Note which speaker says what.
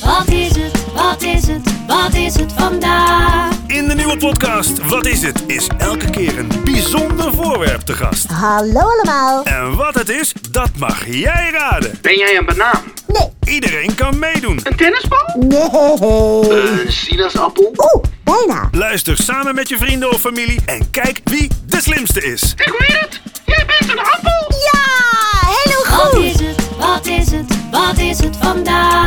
Speaker 1: Wat is het, wat is het, wat is het vandaag?
Speaker 2: In de nieuwe podcast Wat is het? is elke keer een bijzonder voorwerp te gast.
Speaker 3: Hallo allemaal.
Speaker 2: En wat het is, dat mag jij raden.
Speaker 4: Ben jij een banaan?
Speaker 3: Nee,
Speaker 2: Iedereen kan meedoen.
Speaker 4: Een tennisbal?
Speaker 3: nee.
Speaker 4: Een sinaasappel?
Speaker 3: Oeh, bijna.
Speaker 2: Luister samen met je vrienden of familie en kijk wie de slimste is.
Speaker 4: Ik weet het! Jij bent een appel!
Speaker 3: Ja, helemaal
Speaker 1: Wat
Speaker 3: goed.
Speaker 1: is het, wat is het, wat is het vandaag?